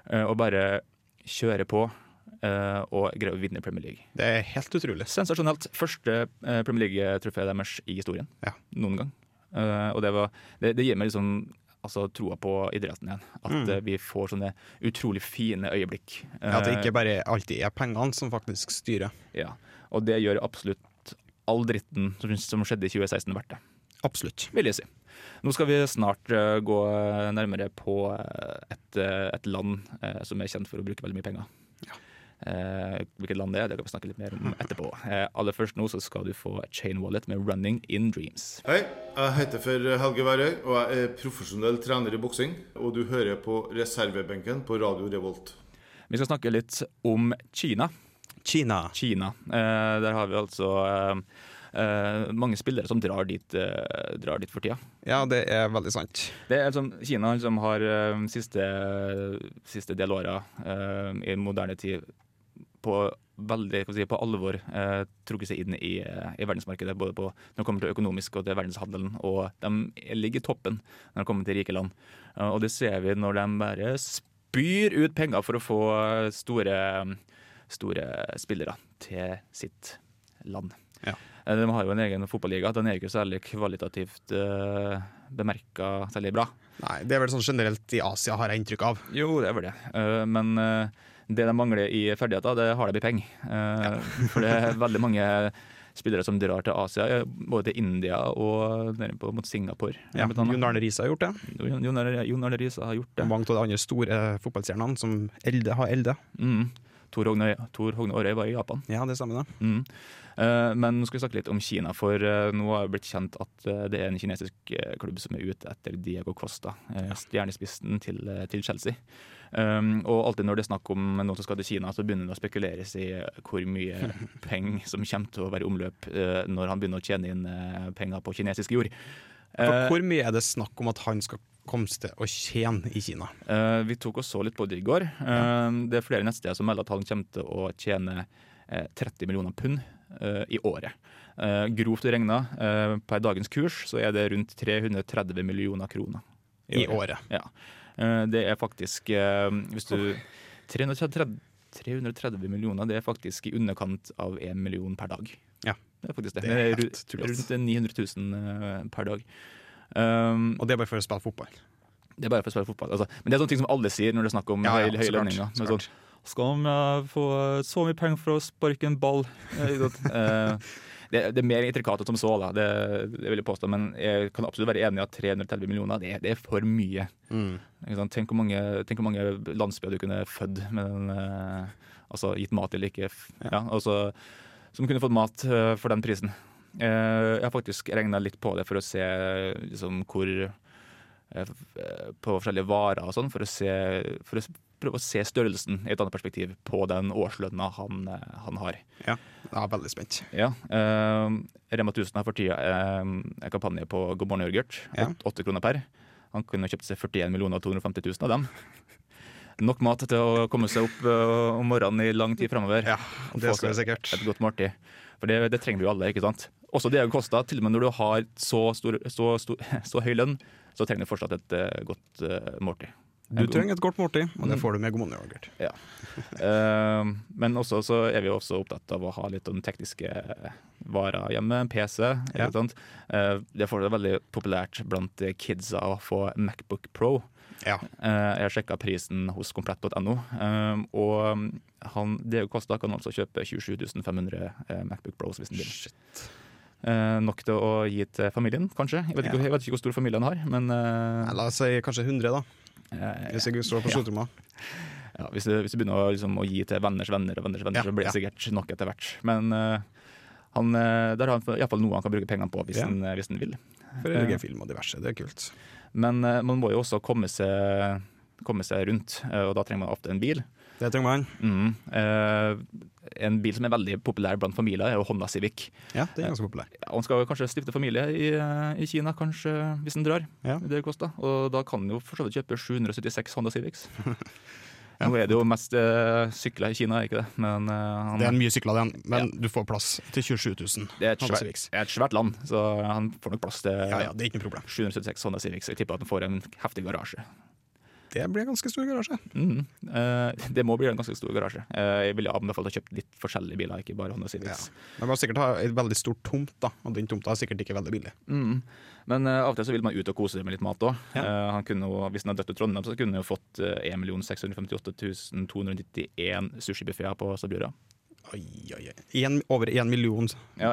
[SPEAKER 4] Eh, og bare kjøre på eh, og greier å vinne Premier League.
[SPEAKER 5] Det er helt utrolig.
[SPEAKER 4] Sensasjonelt. Første eh, Premier League-trofé deres i historien.
[SPEAKER 5] Ja.
[SPEAKER 4] Noen gang. Eh, og det, var, det, det gir meg liksom altså, troa på idretten igjen. At eh, vi får sånne utrolig fine øyeblikk.
[SPEAKER 5] Mm. At det
[SPEAKER 4] Eh,
[SPEAKER 5] ikke bare alltid er pengene som faktisk styrer.
[SPEAKER 4] ja. Og det gjør absolutt all dritten som, som skjedde i 2016 verdt det,
[SPEAKER 5] Absolutt.
[SPEAKER 4] vil jeg si. Nå skal vi snart eh, gå nærmere på eh, et, eh, et land eh, som er kjent for å bruke veldig mye penger. Eh, hvilket land det er, det kan vi snakke litt mer om etterpå. Eh, aller først nå så skal du få Chain Wallet med 'Running In Dreams'.
[SPEAKER 10] Hei, jeg heter for Helge Værøy og jeg er profesjonell trener i boksing. Og du hører på reservebenken på Radio Revolt.
[SPEAKER 4] Vi skal snakke litt om Kina.
[SPEAKER 5] Kina.
[SPEAKER 4] Kina. Eh, der har vi altså eh, eh, mange spillere som drar dit, eh, drar dit for tida.
[SPEAKER 5] Ja, det er veldig sant.
[SPEAKER 4] Det er liksom, Kina liksom har eh, siste, siste del åra eh, i moderne tid på veldig, kan vi si, på alvor eh, trukket seg inn i, eh, i verdensmarkedet. Både på, når det kommer til økonomisk og til verdenshandelen. Og de ligger i toppen når det kommer til rike land. Eh, og det ser vi når de bare spyr ut penger for å få store, store spillere til sitt land.
[SPEAKER 5] Ja.
[SPEAKER 4] Eh, De har jo en egen fotballiga. Den er ikke særlig kvalitativt uh, bemerka særlig bra.
[SPEAKER 5] Nei, Det er vel sånn generelt i Asia, har jeg inntrykk av.
[SPEAKER 4] Jo, det er vel det. Eh, men eh, det de mangler i ferdigheter, det har de i penger. Eh, for det er veldig mange spillere som drar til Asia, eh, både til India og nede på, mot Singapore.
[SPEAKER 5] Ja,
[SPEAKER 4] blant annet.
[SPEAKER 5] Jon Arne Riise har gjort det.
[SPEAKER 4] Jon- Jon Arne- Jon Arne Riise har gjort det.
[SPEAKER 5] Mange av de andre store eh, fotballstjernene som elde, har elde.
[SPEAKER 4] Mm. Tor Hogne, Tor Hogne Aarøy var i Japan.
[SPEAKER 5] Ja, det stemmer det.
[SPEAKER 4] Mm. Eh, men nå skal vi snakke litt om Kina, for eh, nå har det blitt kjent at eh, det er en kinesisk eh, klubb som er ute etter Diego Costa, eh, stjernespissen til, eh, til Chelsea. Um, og alltid når det er snakk om noen som skal til Kina, så begynner det å spekuleres i eh, hvor mye penger som kommer til å være i omløp eh, når han begynner å tjene inn eh, penger på kinesisk jord.
[SPEAKER 5] For
[SPEAKER 4] Eh,
[SPEAKER 5] hvor mye er det snakk om at han skal komme til å tjene i Kina?
[SPEAKER 4] Eh, vi tok og så litt på det i går. Eh, Det er flere nettsteder som melder at han kommer til å tjene eh, 30 millioner pund eh, i året. Eh, grovt regna, eh, per dagens kurs så er det rundt 330 millioner kroner.
[SPEAKER 5] I året.
[SPEAKER 4] Ja. Eh, det er faktisk eh, Hvis du 330, 330 millioner, det er faktisk i underkant av én million per dag.
[SPEAKER 5] Ja.
[SPEAKER 4] Det er faktisk det.
[SPEAKER 5] Det er
[SPEAKER 4] Det er
[SPEAKER 5] helt
[SPEAKER 4] ru-
[SPEAKER 5] tullete.
[SPEAKER 4] rundt 900 000 eh, per dag. Um,
[SPEAKER 5] Og det er bare for å spille fotball.
[SPEAKER 4] det er bare for å spille fotball. Altså. Men det er sånne ting som alle sier når det er snakk om
[SPEAKER 5] Ja, ja,
[SPEAKER 4] høy- høye
[SPEAKER 5] så klart,
[SPEAKER 4] lønninger.
[SPEAKER 5] så
[SPEAKER 4] Men Sånn, skal de eh, få så mye penger for å sparke en ball? Eh, ikke sant? Eh, det, det er mer intrikat enn som så, da. Det, det vil jeg påstå. Men jeg kan absolutt være enig i at 330 millioner, det, er- det er for mye.
[SPEAKER 5] Mm.
[SPEAKER 4] Ikke sant? Tenk, hvor mange, tenk hvor mange landsbyer du kunne født med den eh, Altså gitt mat eller ikke. f- Ja, altså, som kunne fått mat eh, for den prisen. Eh, jeg har faktisk regna litt på det for å se liksom, hvor eh, f- eh, på forskjellige varer og sånn, for å, se, for å s- prøve å se størrelsen i et annet perspektiv på den årslønna han, eh, han har.
[SPEAKER 5] Ja, jeg er veldig spent.
[SPEAKER 4] Ja, eh, Rema 1000 har for tida eh, en kampanje på God morgen yoghurt.
[SPEAKER 5] Ja.
[SPEAKER 4] Åt- Åtte kroner per. Han kunne kjøpt seg 41 millioner og 250 000 av dem. Nok mat til å komme seg opp eh, om morgenen i lang tid framover.
[SPEAKER 5] Ja, det skal vi sikkert.
[SPEAKER 4] Et godt måltid. For det, det trenger vi jo alle, ikke sant. Også det det kosta. Til og med når du har så, stor, så, stor, så høy lønn, så trenger du fortsatt et eh, godt eh, måltid.
[SPEAKER 5] Du trenger et godt måltid, og det får du med god morgen yoghurt.
[SPEAKER 4] Ja. Eh, men også så er vi jo også opptatt av å ha litt om tekniske eh, varer hjemme. En PC.
[SPEAKER 5] Ja.
[SPEAKER 4] Ikke sant? Eh, det får det veldig populært blant kidsa å få Macbook Pro.
[SPEAKER 5] Ja.
[SPEAKER 4] Eh, jeg har sjekka prisen hos komplett.no, eh, og han, det jo kosta kan altså kjøpe 27 500 eh, Macbook Bros hvis han vil. Eh, nok til å gi til familien, kanskje. Jeg vet ikke,
[SPEAKER 5] Ja.
[SPEAKER 4] jeg vet ikke hvor stor familie han har, men eh,
[SPEAKER 5] Nei, La oss si kanskje 100, da.
[SPEAKER 4] eh,
[SPEAKER 5] Hvis jeg står på stortromma.
[SPEAKER 4] ja, hvis, du, hvis du begynner å, liksom, å gi til venners venner og venners venner,
[SPEAKER 5] Ja,
[SPEAKER 4] så blir det sikkert nok etter hvert. Men eh, han, eh, der har han iallfall noe han kan bruke pengene på hvis,
[SPEAKER 5] Ja.
[SPEAKER 4] han, hvis han vil.
[SPEAKER 5] For å lage film og diverse. Det er kult.
[SPEAKER 4] Men eh, man må jo også komme seg komme seg rundt, eh, og da trenger man ofte en bil.
[SPEAKER 5] Det trenger man.
[SPEAKER 4] Mm. Eh, en bil som er veldig populær blant familier, er jo Honda Civic.
[SPEAKER 5] Ja, det er ganske populær.
[SPEAKER 4] Ja, han skal jo kanskje stifte familie i, eh, i Kina, kanskje, hvis han drar.
[SPEAKER 5] Ja.
[SPEAKER 4] Det koster. Og da kan han jo for så vidt kjøpe 776 Honda Civics. Nå er det jo mest eh, sykler i Kina, ikke det? Men eh, han,
[SPEAKER 5] Det er mye sykler, den, men du får plass til 27 000.
[SPEAKER 4] det er et,
[SPEAKER 5] Honda
[SPEAKER 4] svært,
[SPEAKER 5] Civics.
[SPEAKER 4] det er et svært land, så han får nok plass til
[SPEAKER 5] Ja, ja, det er ikke noe problem.
[SPEAKER 4] 776 Honda Civics. og Jeg tipper at han får en heftig garasje.
[SPEAKER 5] Det blir en ganske stor garasje.
[SPEAKER 4] Mhm. Eh, det må bli en ganske stor garasje. Eh, jeg ville anbefalt å kjøpe litt forskjellige biler, ikke bare Honda
[SPEAKER 5] Ja.
[SPEAKER 4] Civics.
[SPEAKER 5] Man må sikkert ha en veldig stor tomt, da, og den tomta er sikkert ikke veldig billig.
[SPEAKER 4] Mm. Men eh, av og til så vil man ut og kose seg med litt mat òg. hvis han hadde dødd i Trondheim, så kunne han jo fått uh, 1 658 291 sushibuffeer på Sabura.
[SPEAKER 5] Oi, oi, oi. En, over én million.
[SPEAKER 4] Ja,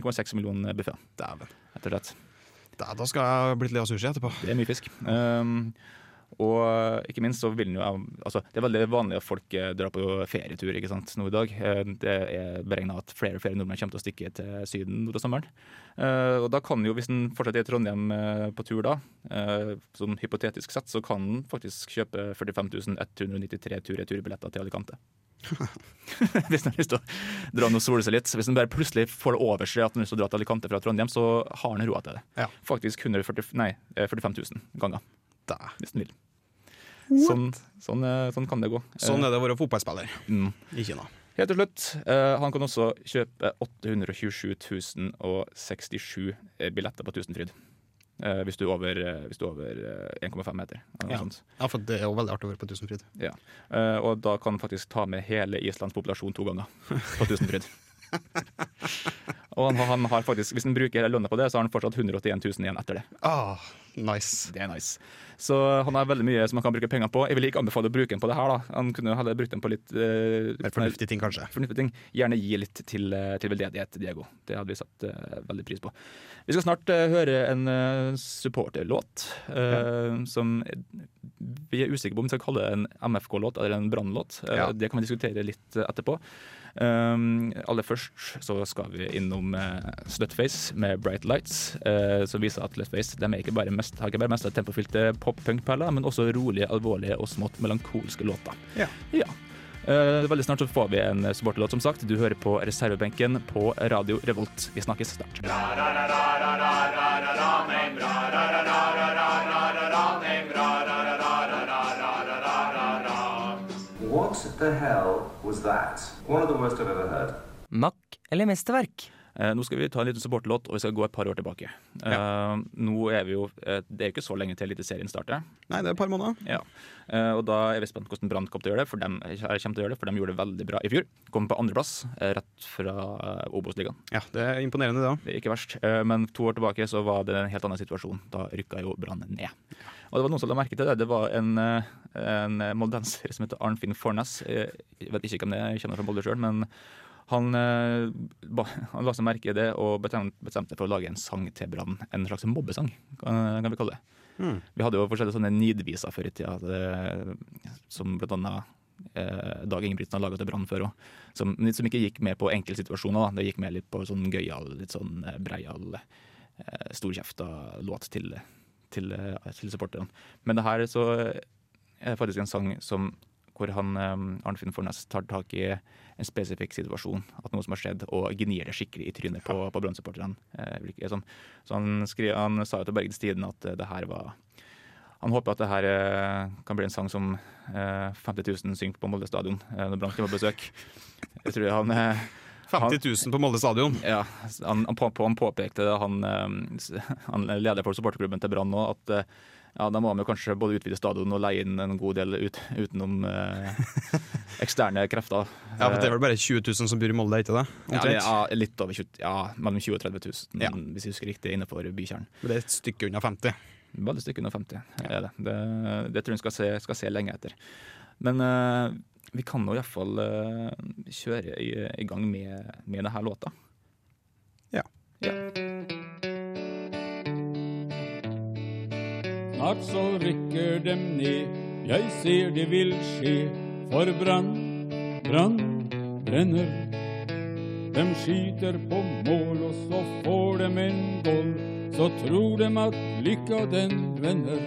[SPEAKER 4] 1,6 1,6 millioner buffeer,
[SPEAKER 5] Dæven.
[SPEAKER 4] rett og slett.
[SPEAKER 5] Da, da skal jeg bli litt lei av sushi etterpå.
[SPEAKER 4] Det er mye fisk. Um, og ikke minst så vil den jo altså, Det er veldig vanlig at folk eh, drar på ferietur ikke sant, nå i dag. Eh, Det er beregna at flere og flere nordmenn kommer til å stikke til Syden utover sommeren. Eh, og da kan jo, hvis en fortsetter i Trondheim eh, på tur da, eh, som hypotetisk sett, så kan en faktisk kjøpe 45 193 tur-retur-billetter til Alicante. hvis en har lyst til å dra noe og sole seg litt. Hvis en bare plutselig får det over seg at en har lyst til å dra til Alicante fra Trondheim, så har en råd til det.
[SPEAKER 5] Ja.
[SPEAKER 4] Faktisk 140, nei, eh, 45 000 ganger,
[SPEAKER 5] Da.
[SPEAKER 4] hvis en vil. Sånn, sånn, eh, sånn kan det gå.
[SPEAKER 5] Sånn er det å være fotballspiller
[SPEAKER 4] Mm.
[SPEAKER 5] i Kina.
[SPEAKER 4] Helt til slutt, eh, han kan også kjøpe 827 067 billetter på Tusenfryd. Eh, hvis du er over, eh, hvis du er over eh, 1,5 meter. Eller noe
[SPEAKER 5] Ja.
[SPEAKER 4] sånt.
[SPEAKER 5] Ja, for det er jo veldig artig å være på Tusenfryd.
[SPEAKER 4] Ja. Eh, og da kan han faktisk ta med hele Islands populasjon to ganger på Tusenfryd. og han, har- han har faktisk, hvis han bruker hele lønna på det, så har han fortsatt 181 000 igjen etter det.
[SPEAKER 5] Ah, nice.
[SPEAKER 4] Det er nice. Så han har veldig mye som han kan bruke penger på. Jeg vil ikke anbefale å bruke den på det her, da. Han kunne heller brukt den på litt eh,
[SPEAKER 5] Mer fornuftige ting, kanskje.
[SPEAKER 4] fornuftige ting. Gjerne gi litt til, eh, til veldedighet, Diego. Det hadde vi satt eh, veldig pris på. Vi skal snart eh, høre en eh, supporterlåt eh, som vi er usikre på om vi skal kalle det en MFK-låt eller en brannlåt. Eh,
[SPEAKER 5] Ja.
[SPEAKER 4] Det kan vi diskutere litt eh, etterpå. Um, aller først så skal vi innom eh, Slutface med Bright Lights, eh, som viser at Slutface de er ikke bare mest, har ikke bare mest av tempofylte pop-punk-perler, men også rolige, alvorlige og smått melankolske låter.
[SPEAKER 5] Ja.
[SPEAKER 4] Eh, veldig snart så får vi en supporterlåt, som sagt. Du hører på reservebenken på Radio Revolt. Vi snakkes snart.
[SPEAKER 11] What the hell was that? One of the worst I've ever heard.
[SPEAKER 12] Makk eller mesterverk?
[SPEAKER 4] Eh, nå skal vi ta en liten supporterlåt, og vi skal gå et par år tilbake. Eh, Nå er vi jo eh, Det er jo ikke så lenge til Eliteserien starter.
[SPEAKER 5] Nei, det er et par måneder.
[SPEAKER 4] Ja. Eh, og da er vi spent hvordan Brann kommer til å gjøre det, for de, kommer til å gjøre det, for de gjorde det veldig bra i fjor. Kom på andreplass, eh, rett fra eh, Obos-ligaen.
[SPEAKER 5] Ja, det er imponerende, det òg.
[SPEAKER 4] Det er ikke verst. Eh, men to år tilbake så var det en helt annen situasjon. Da rykka jo Brann ned. Og det var noen som la merke til det. Det var en, eh, en moldenser som heter Arnfinn Fornes. Eh, Jeg vet ikke hvem det er, jeg kjenner fra Molde sjøl, men han, eh, ba, han la seg merke i det og bestem- bestemte for å lage en sang til Brann. En slags mobbesang, kan, kan vi kalle det. Vi hadde jo forskjellige sånne nidviser før i tida, det, som blant annet eh, Dag Ingebrigtsen har laga til Brann før òg. Som, men som ikke gikk med på enkeltsituasjoner, da. Det gikk med litt på sånn gøyal, litt sånn eh, breial, eh, storkjefta låt til, til, eh, til supporterne. Men det her så er det faktisk en sang som hvor han, eh, Arnfinn Fornes tar tak i en spesifikk situasjon, at noe som har skjedd, og gnir det skikkelig i trynet på, på Brann-supporterne. Eh, virker det som. så han, skri, han sa jo til Bergens Tidende at eh, det her var han håper at det her eh, kan bli en sang som eh, 50 000 synger på Molde stadion eh, når Brann kommer på besøk. Jeg tror han eh,
[SPEAKER 5] 50 000 på Molde stadion.
[SPEAKER 4] ja, han, han, på, på- han påpekte det, han, eh, s- han leder for supporterklubben til Brann nå, at eh, ja, da må han jo kanskje både utvide stadion og leie inn en god del ut, utenom eh, eksterne krefter.
[SPEAKER 5] Ja, for Det er vel bare 20 000 som bor i Molde, ikke det?
[SPEAKER 4] Ja,
[SPEAKER 5] Omtrent.
[SPEAKER 4] ja, litt over 20, ja, mellom 20 og 30 000,
[SPEAKER 5] Ja.
[SPEAKER 4] hvis jeg husker riktig, innenfor bykjernen.
[SPEAKER 5] Men det er et stykke unna 50.
[SPEAKER 4] Veldig stykke under 50. Er det. Det, det tror jeg vi skal se, skal se lenge etter. Men eh, vi kan nå iallfall uh, kjøre i, i gang med, med denne låta.
[SPEAKER 5] Ja.
[SPEAKER 13] Snart så rykker dem ned, jeg ser det vil skje. For brann, brann, brenner. Dem skyter på mål, og så får dem en boll. Så tror dem at lykka den vender.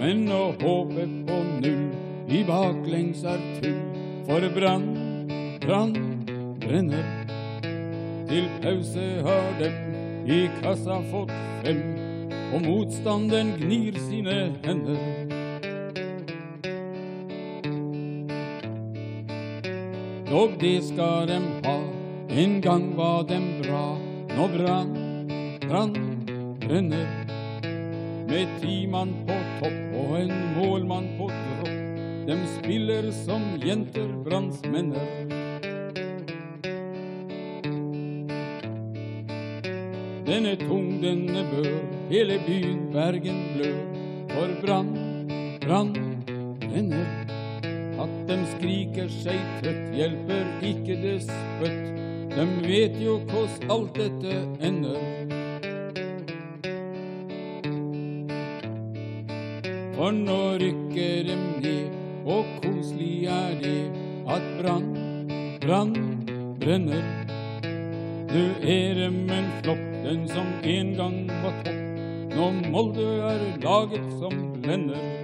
[SPEAKER 13] men å håpe på null i baklengs er tull. For brann, brann, brenner. Til pause har dem i kassa fått fem, og motstanderen gnir sine hender. Og det skal dem ha, en gang var dem bra. Nå brann, brann, brenner. Med ti mann på topp og en målmann på dropp. Dem spiller som jenter, brannsmenner. Denne tung, denne bør, hele byen Bergen blør. For brann, brann, brenner. At dem skriker seg trøtt, hjelper ikke det spøtt. Dem vet jo koss alt dette ender. For nå rykker dem ned, og koselig er det at brann, brann, brenner. Du er dem en flokk, den som en gang var topp. Nå Molde er laget som blender.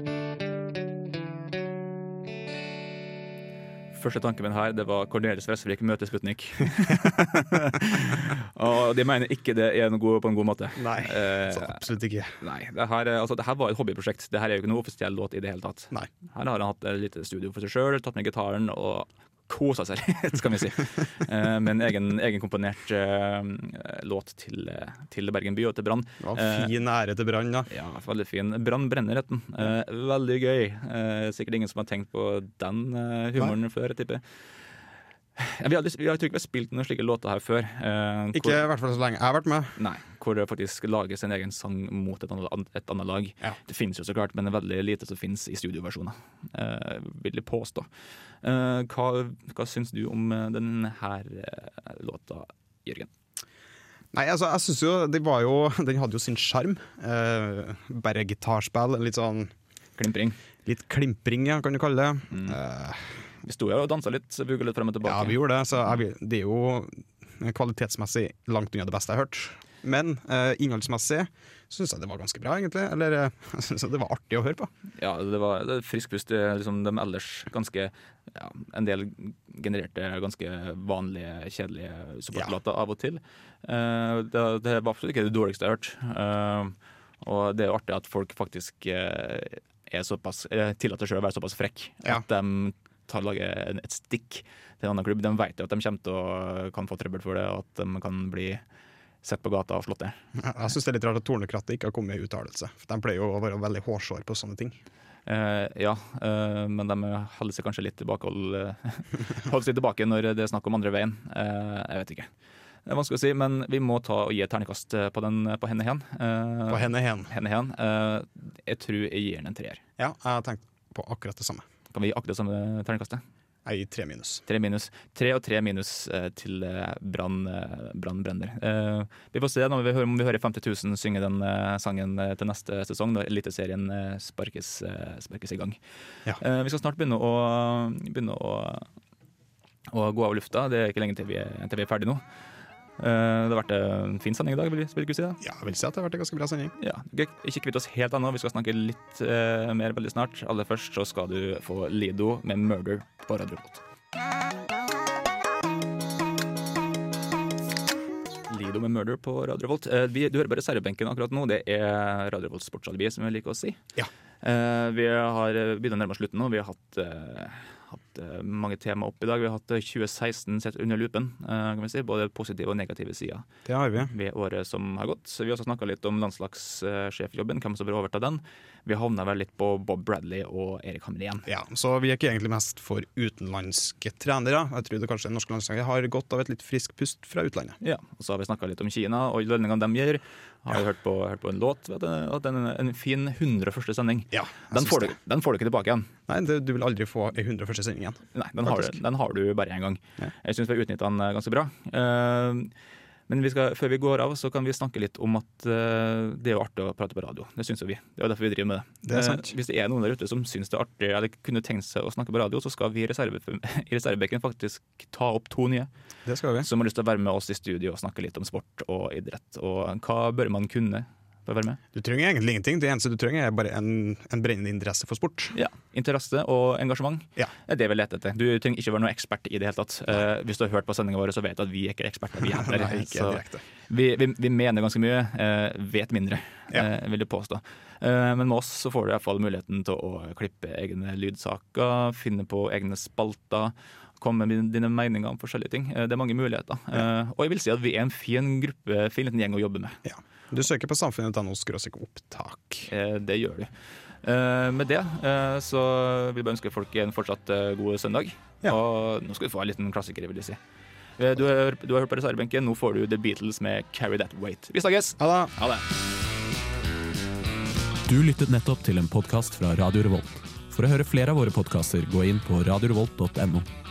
[SPEAKER 4] Første tanken min her, det var Cornelis Vresvik møter Sputnik. og de mener ikke det er noe god, på en god måte.
[SPEAKER 5] Nei, absolutt ikke.
[SPEAKER 4] Nei, det her, er- altså, det her var et hobbyprosjekt. Det her er jo ikke noe offisiell låt i det hele tatt.
[SPEAKER 5] Nei.
[SPEAKER 4] Her har han hatt et lite studio for seg sjøl, tatt med gitaren og kosa seg, skal vi si. Eh, med en egen, egenkomponert eh, låt til, eh, til Bergen by og til Brann.
[SPEAKER 5] Det var en fin ære til Brann, da.
[SPEAKER 4] Ja, veldig fin. Brann brenner retten. Eh, veldig gøy. Eh, sikkert ingen som har tenkt på den eh, humoren før, jeg tipper. Ja, vi har lyst- vi har- jeg tror ikke vi har spilt noen slike låter her før. eh,
[SPEAKER 5] Ikke i hvert fall så lenge jeg har vært med.
[SPEAKER 4] Nei, hvor det faktisk lages en egen sang mot et annet, et annet lag. Det finnes jo så klart, men det er veldig lite som finnes i studioversjoner, eh, vil jeg påstå. Eh, hva, hva syns du om eh, denne eh, låta, Jørgen?
[SPEAKER 5] Nei, altså, jeg synes jo, det var jo Den hadde jo sin sjarm. Eh, bare gitarspill, litt sånn
[SPEAKER 4] Klimpring.
[SPEAKER 5] Litt klimpring, ja, kan du kalle det. Eh,
[SPEAKER 4] Vi sto jo og dansa litt, så vugga litt frem og tilbake.
[SPEAKER 5] ja, vi gjorde det, så jeg, vil- det er jo kvalitetsmessig langt unna det beste jeg har hørt. Men eh, innholdsmessig syns jeg det var ganske bra, egentlig. Eller eh, jeg syns det var artig å høre på.
[SPEAKER 4] Ja, det var det er frisk pust. Det er Liksom de ellers ganske ja, En del genererte ganske vanlige, kjedelige supportlåter av og til. Eh, det, det var absolutt ikke det dårligste jeg har hørt. Eh, og det er jo artig at folk faktisk eh, er såpass eh, tillater seg å være såpass frekk at de tar lager en- et stikk til en annen klubb. De vet jo at de kommer til å kan få trøbbel for det, og at de kan bli sett på gata og slått ned.
[SPEAKER 5] Jeg syns det er litt rart at Tornekrattet ikke har kommet med en uttalelse. For de pleier jo å være veldig hårsåre på sånne ting.
[SPEAKER 4] Eh, ja, eh, men de holder seg kanskje litt tilbake, hold- holder seg tilbake når det er snakk om andre veien. Eh, jeg vet ikke. Det er vanskelig å si, men vi må ta og gi et ternekast eh, på, den, på henne hen. Eh,
[SPEAKER 5] På henne hen.
[SPEAKER 4] Henne hen. Eh, jeg tror jeg gir den en treer.
[SPEAKER 5] Ja, jeg tenkte på akkurat det samme.
[SPEAKER 4] Kan vi gi akkurat det samme ternekastet?
[SPEAKER 5] Jeg gir tre minus.
[SPEAKER 4] Tre minus. Tre og tre minus eh, til eh, Brann eh, Brann brenner. Eh, vi får se når vi hører, om vi hører 50 000 synge den eh, sangen eh, til neste sesong, når Eliteserien eh, sparkes, eh, sparkes i gang. Eh, vi skal snart begynne å, begynne å, å gå av lufta. Det er ikke lenge til vi er, til vi er ferdig nå. Eh, det har vært en fin sending i dag, vil vil du ikke si det?
[SPEAKER 5] Ja, jeg vil si at det har vært en ganske bra sending.
[SPEAKER 4] Ja, ok. Ikke kvitt oss helt ennå, vi skal snakke litt eh, mer veldig snart. Aller først så skal du få Lido med 'Murder' på Radio Revolt. Lido med 'Murder' på Radio Revolt. Eh, vi, du hører på reservebenken akkurat nå, det er Radio Revolts sportsalibi, som vi liker å si. Eh, vi har eh, begynt å nærme oss slutten nå. Vi har hatt, eh, hatt eh, mange tema opp i dag. Vi har hatt eh, 2016 sett under lupen, eh, kan vi si. Både positive og negative sider
[SPEAKER 5] Det har vi.
[SPEAKER 4] ved året som har gått. Så vi har også snakka litt om landslagssjefjobben, hvem som bør overta den. Vi havna vel litt på Bob Bradley og Erik Hamrén.
[SPEAKER 5] Ja, så vi er ikke egentlig mest for utenlandske trenere. Jeg tror det kanskje norske landslaget har godt av et litt friskt pust fra utlandet.
[SPEAKER 4] Ja, og så har vi snakka litt om Kina og lønningene de gir. Har jo hørt, på, hørt på en låt. Vet du, at den er en fin 101. sending. den,
[SPEAKER 5] syns
[SPEAKER 4] får du,
[SPEAKER 5] det.
[SPEAKER 4] den får du ikke tilbake igjen.
[SPEAKER 5] Nei, det, du vil aldri få ei 101. sending igjen.
[SPEAKER 4] Nei, den har, du,
[SPEAKER 5] Faktisk.
[SPEAKER 4] den har du bare én gang. Jeg syns vi har utnytta den eh, ganske bra. Eh, Men vi skal, før vi går av, så kan vi snakke litt om at eh, det er jo artig å prate på radio. Det syns jo vi. Det er jo derfor vi driver med det.
[SPEAKER 5] Det er sant.
[SPEAKER 4] Eh, Hvis det er noen der ute som syns det er artig eller kunne tenkt seg å snakke på radio, så skal vi i, reserve, i reservebenken faktisk ta opp to nye.
[SPEAKER 5] Det skal vi.
[SPEAKER 4] Som har lyst til å være med oss i studio og snakke litt om sport og idrett. Og hva bør man kunne for å være med?
[SPEAKER 5] Du trenger egentlig ingenting. Det eneste du trenger, er bare en, en brennende interesse for sport.
[SPEAKER 4] Ja, Interesse og engasjement Det er det vi leter etter. Du trenger ikke være noen ekspert i det hele tatt. Eh, hvis du har hørt på sendinga vår, så vet du at vi er ikke eksperter. Vi er der.
[SPEAKER 5] Nei, ikke
[SPEAKER 4] Så
[SPEAKER 5] direkte.
[SPEAKER 4] vi, vi, vi mener ganske mye, eh, vet mindre, eh, vil jeg påstå. Eh, men med oss så får du i hvert fall muligheten til å klippe egne lydsaker, finne på egne spalter. Komme med dine meninger om forskjellige ting. Eh, Det er mange muligheter. Eh, Og jeg vil si at vi er en fin gruppe, fin liten gjeng å jobbe med.
[SPEAKER 5] Du søker på samfunnet.no skråstrek opptak.
[SPEAKER 4] Eh, Det gjør du. Eh, Med det eh, så vil jeg bare ønske folk en fortsatt eh, god søndag. Og nå skal du få en liten klassiker, vil jeg si. Eh, Du har, du har hørt på reservebenken, nå får du The Beatles med 'Carry That Weight'. Vi snakkes! Ha det.
[SPEAKER 14] Du lyttet nettopp til en podkast fra Radio Revolt. For å høre flere av våre podkaster, gå inn på radiorevolt.no.